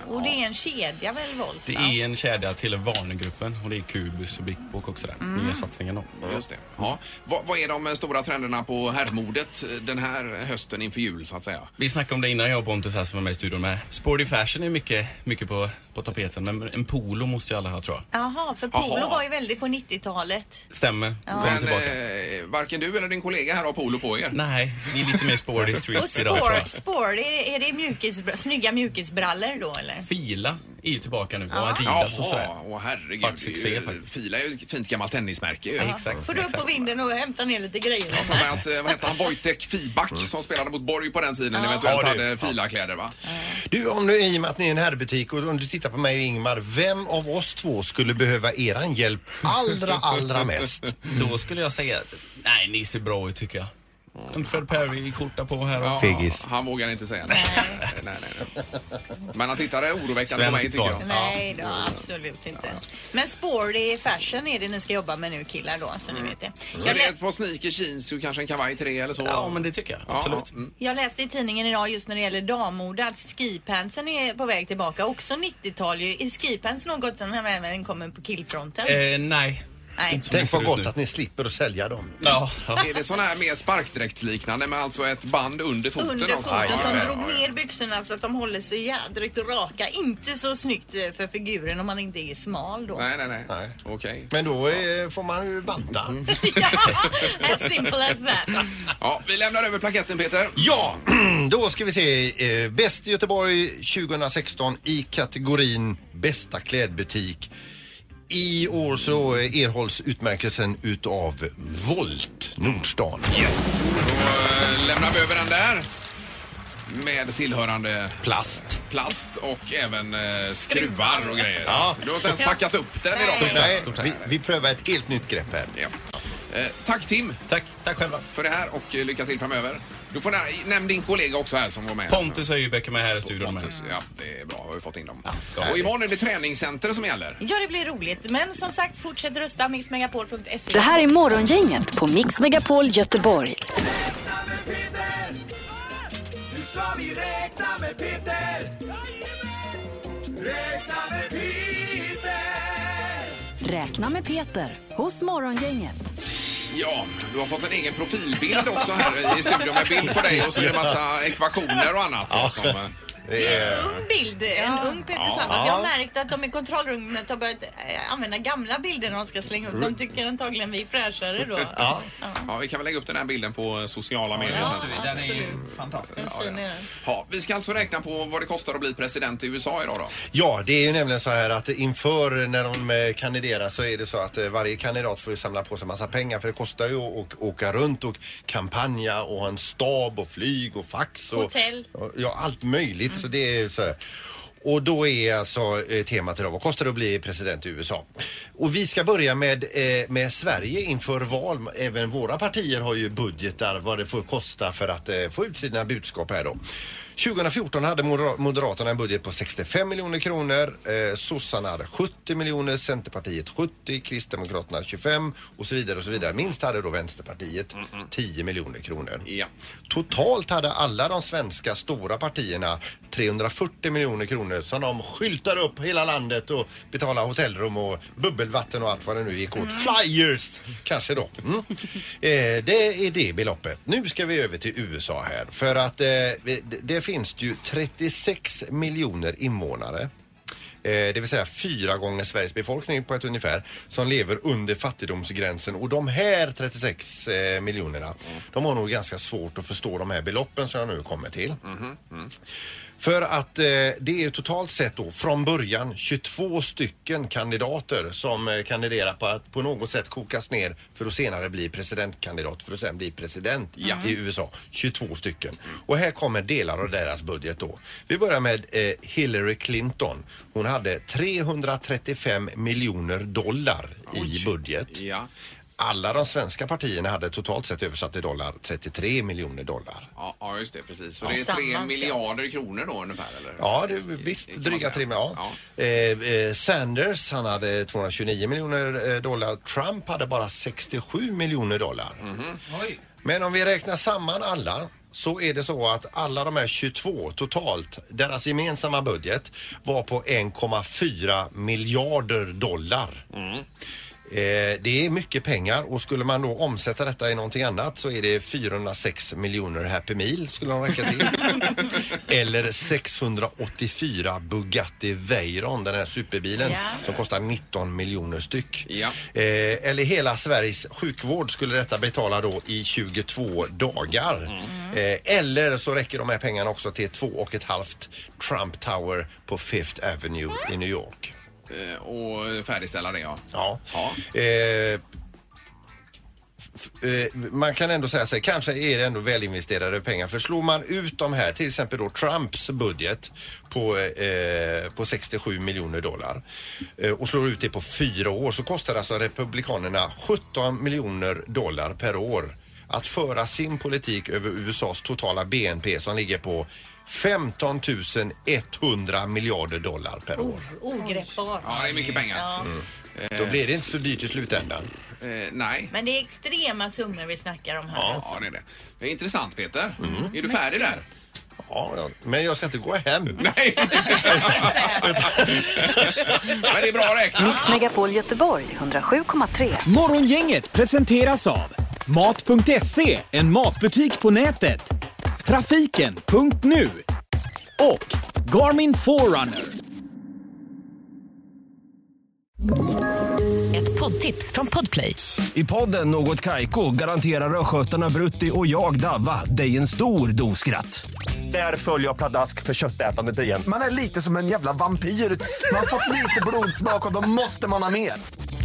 [SPEAKER 5] Och det är en kedja väl, Volt?
[SPEAKER 13] Det är en kedja till Varnegruppen och det är Kubus och Big Book också där.
[SPEAKER 5] Mm.
[SPEAKER 13] Nya satsningen då.
[SPEAKER 3] Just det. Ja. Vad, vad är de eh, stora trenderna på herrmodet eh, den här hösten inför jul så att säga?
[SPEAKER 13] Vi snackade om det innan jag och Pontus här som var med i studion med. Sporty fashion är mycket, mycket på, på tapeten men en polo måste ju alla ha tror jag.
[SPEAKER 5] Jaha, för polo
[SPEAKER 13] Jaha.
[SPEAKER 5] var ju väldigt på 90-talet.
[SPEAKER 13] Stämmer,
[SPEAKER 5] Ja.
[SPEAKER 13] kommer
[SPEAKER 5] Men,
[SPEAKER 13] tillbaka.
[SPEAKER 3] Eh, varken du eller din kollega här har polo på er.
[SPEAKER 13] Nej, ni är lite mer sporty street
[SPEAKER 5] Och
[SPEAKER 13] idag tror jag.
[SPEAKER 5] sport, sport är, det- är det mjukis, snygga mjukisbrallor då eller?
[SPEAKER 13] Fila är ju tillbaka nu.
[SPEAKER 5] Ja.
[SPEAKER 13] Och Adidas och alltså sådär.
[SPEAKER 3] Jaha, åh, herregud.
[SPEAKER 13] Fuck succé,
[SPEAKER 3] Det är ju-
[SPEAKER 13] faktiskt.
[SPEAKER 3] Fila är ju ett fint gammalt tennismärke. ju.
[SPEAKER 13] Ja, exakt.
[SPEAKER 5] Får du upp på vinden och hämta ner lite grejer?
[SPEAKER 3] Jag har för mig att, eh, vad hette han, Wojtek Fiback
[SPEAKER 13] Mm.
[SPEAKER 3] som spelade mot Borg på den tiden eventuellt
[SPEAKER 6] Ja, det-
[SPEAKER 3] hade filakläder va?
[SPEAKER 6] Du, om du, i och med att ni är en herrbutik och om du tittar på mig och Ingmar, vem av oss två skulle behöva eran hjälp allra, allra mest?
[SPEAKER 13] Då skulle jag säga, nej ni ser bra ut tycker jag. En Fred Perry-skjorta på här.
[SPEAKER 3] Ja,
[SPEAKER 13] och-
[SPEAKER 3] Han vågar inte säga nej. nej, nej, nej. Men han tittade oroväckande på
[SPEAKER 13] Svenskt
[SPEAKER 3] mig tycker jag.
[SPEAKER 13] svar.
[SPEAKER 5] Nej då, absolut inte. Men sporty fashion är det ni ska jobba med nu killar då, så ni
[SPEAKER 13] Mm.
[SPEAKER 5] vet det.
[SPEAKER 3] Så det är ett par sneakers, jeans och kanske en kavaj till det eller så? Ja, men
[SPEAKER 13] det tycker jag.
[SPEAKER 3] Absolut.
[SPEAKER 5] Jag läste i tidningen idag just när det gäller dammode att skipantsen är på väg tillbaka. Också 90-tal ju. Är skipants något som även kommer på killfronten?
[SPEAKER 13] Eh, nej.
[SPEAKER 5] Nej.
[SPEAKER 6] Tänk vad gott att ni slipper att sälja dem.
[SPEAKER 13] Ja.
[SPEAKER 3] Är det sån här mer sparkdräktsliknande med alltså ett band under foten
[SPEAKER 5] Under
[SPEAKER 3] också?
[SPEAKER 5] foten som
[SPEAKER 3] Ja,
[SPEAKER 5] drog
[SPEAKER 3] ja, ja.
[SPEAKER 5] ner byxorna så att de håller sig jädrigt raka. Inte så snyggt eh, för figuren om man inte är smal då.
[SPEAKER 3] Nej, nej, nej. Okej.
[SPEAKER 6] Men då eh, får man ju banta.
[SPEAKER 5] As simple as that.
[SPEAKER 3] Ja, vi lämnar över plaketten Peter.
[SPEAKER 6] Ja, då ska vi se. eh, Bäst i Göteborg 2016 i kategorin bästa klädbutik. I år så eh, erhålls utmärkelsen utav Volt Nordstan.
[SPEAKER 3] Yes. Då eh, lämnar vi över den där. Med tillhörande plast. Plast och även eh, skruvar och grejer.
[SPEAKER 6] Ja.
[SPEAKER 3] Du har inte ens packat upp den idag.
[SPEAKER 6] Stort tack, stort tack. Vi, vi prövar ett helt nytt grepp här.
[SPEAKER 3] Eh, tack Tim.
[SPEAKER 13] Tack, tack själva.
[SPEAKER 3] För det här och eh, lycka till framöver. Du får nä- nämn din kollega också här som var med.
[SPEAKER 13] Pontus Höjbäck är med här i studion. Pontus,
[SPEAKER 3] ja, det är bra. Har vi fått in dem. och imorgon är det träningscenter som gäller.
[SPEAKER 5] Ja, det blir roligt. Men som sagt, fortsätt rösta mixmegapol.se.
[SPEAKER 1] Det här är Morgongänget på Mix Megapol Göteborg.
[SPEAKER 14] Nu ska vi räkna med Peter! Räkna med Peter!
[SPEAKER 1] Räkna med Peter hos Morgongänget.
[SPEAKER 3] Ja, du har fått en egen profilbild också här i studion med bild på dig och så är det massa ekvationer och annat.
[SPEAKER 6] Ja.
[SPEAKER 3] Som, eh,
[SPEAKER 5] ung bild, eh, en ung Peter
[SPEAKER 3] Ja.
[SPEAKER 5] Sandholt.
[SPEAKER 3] Ja.
[SPEAKER 5] Jag har märkt att de i kontrollrummet har börjat eh, använda gamla bilder när de ska slänga upp. De tycker antagligen vi är fräschare då.
[SPEAKER 3] Ja. ja, vi kan väl lägga upp den här bilden på eh, sociala medier.
[SPEAKER 5] Ja,
[SPEAKER 3] sen.
[SPEAKER 8] Den är ju fantastisk.
[SPEAKER 5] Så nu-
[SPEAKER 3] Ja, vi ska alltså räkna på vad det kostar att bli president i USA idag då.
[SPEAKER 6] Ja, det är ju nämligen så här att inför när de eh, kandiderar så är det så att eh, varje kandidat får ju samla på sig massa pengar för det kostar ju att å- åka runt och kampanja och ha en stab och flyg och fax och
[SPEAKER 14] Hotell.
[SPEAKER 6] och- Ja, allt möjligt. Så det är ju så här. Och då är alltså eh, temat idag, vad kostar det att bli president i USA? Och vi ska börja med, eh, med Sverige inför val. Även våra partier har ju budgetar vad det får kosta för att eh, få ut sina budskap här då. 2014 hade Moder- Moderaterna en budget på 65 miljoner kronor. Eh, Sossarna hade 70 miljoner, Centerpartiet 70, Kristdemokraterna 25 och så vidare och så vidare. Minst hade då Vänsterpartiet 10 miljoner kronor. Totalt hade alla de svenska stora partierna 340 miljoner kronor kronor som de skyltar upp hela landet och betalar hotellrum och bubbelvatten och allt vad det nu gick åt. Flyers kanske då. Mm. Eh, det är det beloppet. Nu ska vi över till USA här för att eh, det, det finns ju 36 miljoner invånare eh, det vill säga fyra gånger Sveriges befolkning på ett ungefär, som lever under fattigdomsgränsen. Och de här 36 eh, miljonerna, de har nog ganska svårt att förstå de här beloppen som jag nu kommer till. För att eh, det är totalt sett då från början 22 stycken kandidater som eh, kandiderar på att på något sätt kokas ner för att senare bli presidentkandidat för att sen bli president i USA. 22 stycken. Och här kommer delar av deras budget då. Vi börjar med eh, Hillary Clinton. Hon hade 335 miljoner dollar i budget.
[SPEAKER 3] Ja.
[SPEAKER 6] Alla de svenska partierna hade totalt sett översatt till dollar 33 miljoner dollar.
[SPEAKER 3] Ja, ja, just det. Precis. Så
[SPEAKER 6] Ja.
[SPEAKER 3] det är tre
[SPEAKER 6] Tillsammans, ja.
[SPEAKER 3] miljarder kronor då ungefär? Eller?
[SPEAKER 6] Ja, det, visst. Dryga tre miljoner. Ja. Eh, eh, Sanders, han hade 229 miljoner eh, dollar. Trump hade bara 67 miljoner dollar. Men om vi räknar samman alla så är det så att alla de här 22 totalt, deras gemensamma budget var på 1,4 miljarder dollar. Eh, det är mycket pengar och skulle man då omsätta detta i någonting annat så är det 406 miljoner Happy Meal skulle de räcka till. Eller 684 Bugatti Veyron, den här superbilen
[SPEAKER 3] Ja.
[SPEAKER 6] som kostar 19 miljoner styck.
[SPEAKER 3] Ja.
[SPEAKER 6] Eh, eller hela Sveriges sjukvård skulle detta betala då i 22 dagar.
[SPEAKER 3] Mm.
[SPEAKER 6] Eh, eller så räcker de här pengarna också till två och ett halvt Trump Tower på Fifth Avenue i New York.
[SPEAKER 3] Eh, Och färdigställa det, ja.
[SPEAKER 6] Ja. Eh, f- eh, man kan ändå säga sig, kanske är det ändå välinvesterade pengar. För slår man ut de här, till exempel då Trumps budget på, eh, på 67 miljoner dollar eh, och slår ut det på fyra år så kostar alltså Republikanerna 17 miljoner dollar per år att föra sin politik över USAs totala BNP som ligger på 15 100 miljarder dollar per år.
[SPEAKER 5] Ogreppbart.
[SPEAKER 3] Ja, det är mycket pengar.
[SPEAKER 5] Ja.
[SPEAKER 6] Mm. Då blir det inte så dyrt i slutändan.
[SPEAKER 3] Eh, nej.
[SPEAKER 5] Men det är extrema summor vi snackar om här.
[SPEAKER 3] Ja, det är det. Det är intressant, Peter. Är du färdig där?
[SPEAKER 6] Ja, ja, men jag ska inte gå hem.
[SPEAKER 3] Nej. Men det är bra räknat.
[SPEAKER 1] Mix Megapol Göteborg 107,3.
[SPEAKER 2] Morgongänget presenteras av Mat.se, en matbutik på nätet. Trafiken.nu och Garmin Forerunner.
[SPEAKER 15] Ett poddtips från Podplay.
[SPEAKER 16] I podden Något Kaiko garanterar östgötarna Brutti och jag, Davva, dig en stor dos skratt. Där följer jag pladask för köttätandet igen.
[SPEAKER 17] Man är lite som en jävla vampyr. Man har fått lite blodsmak och då måste man ha mer.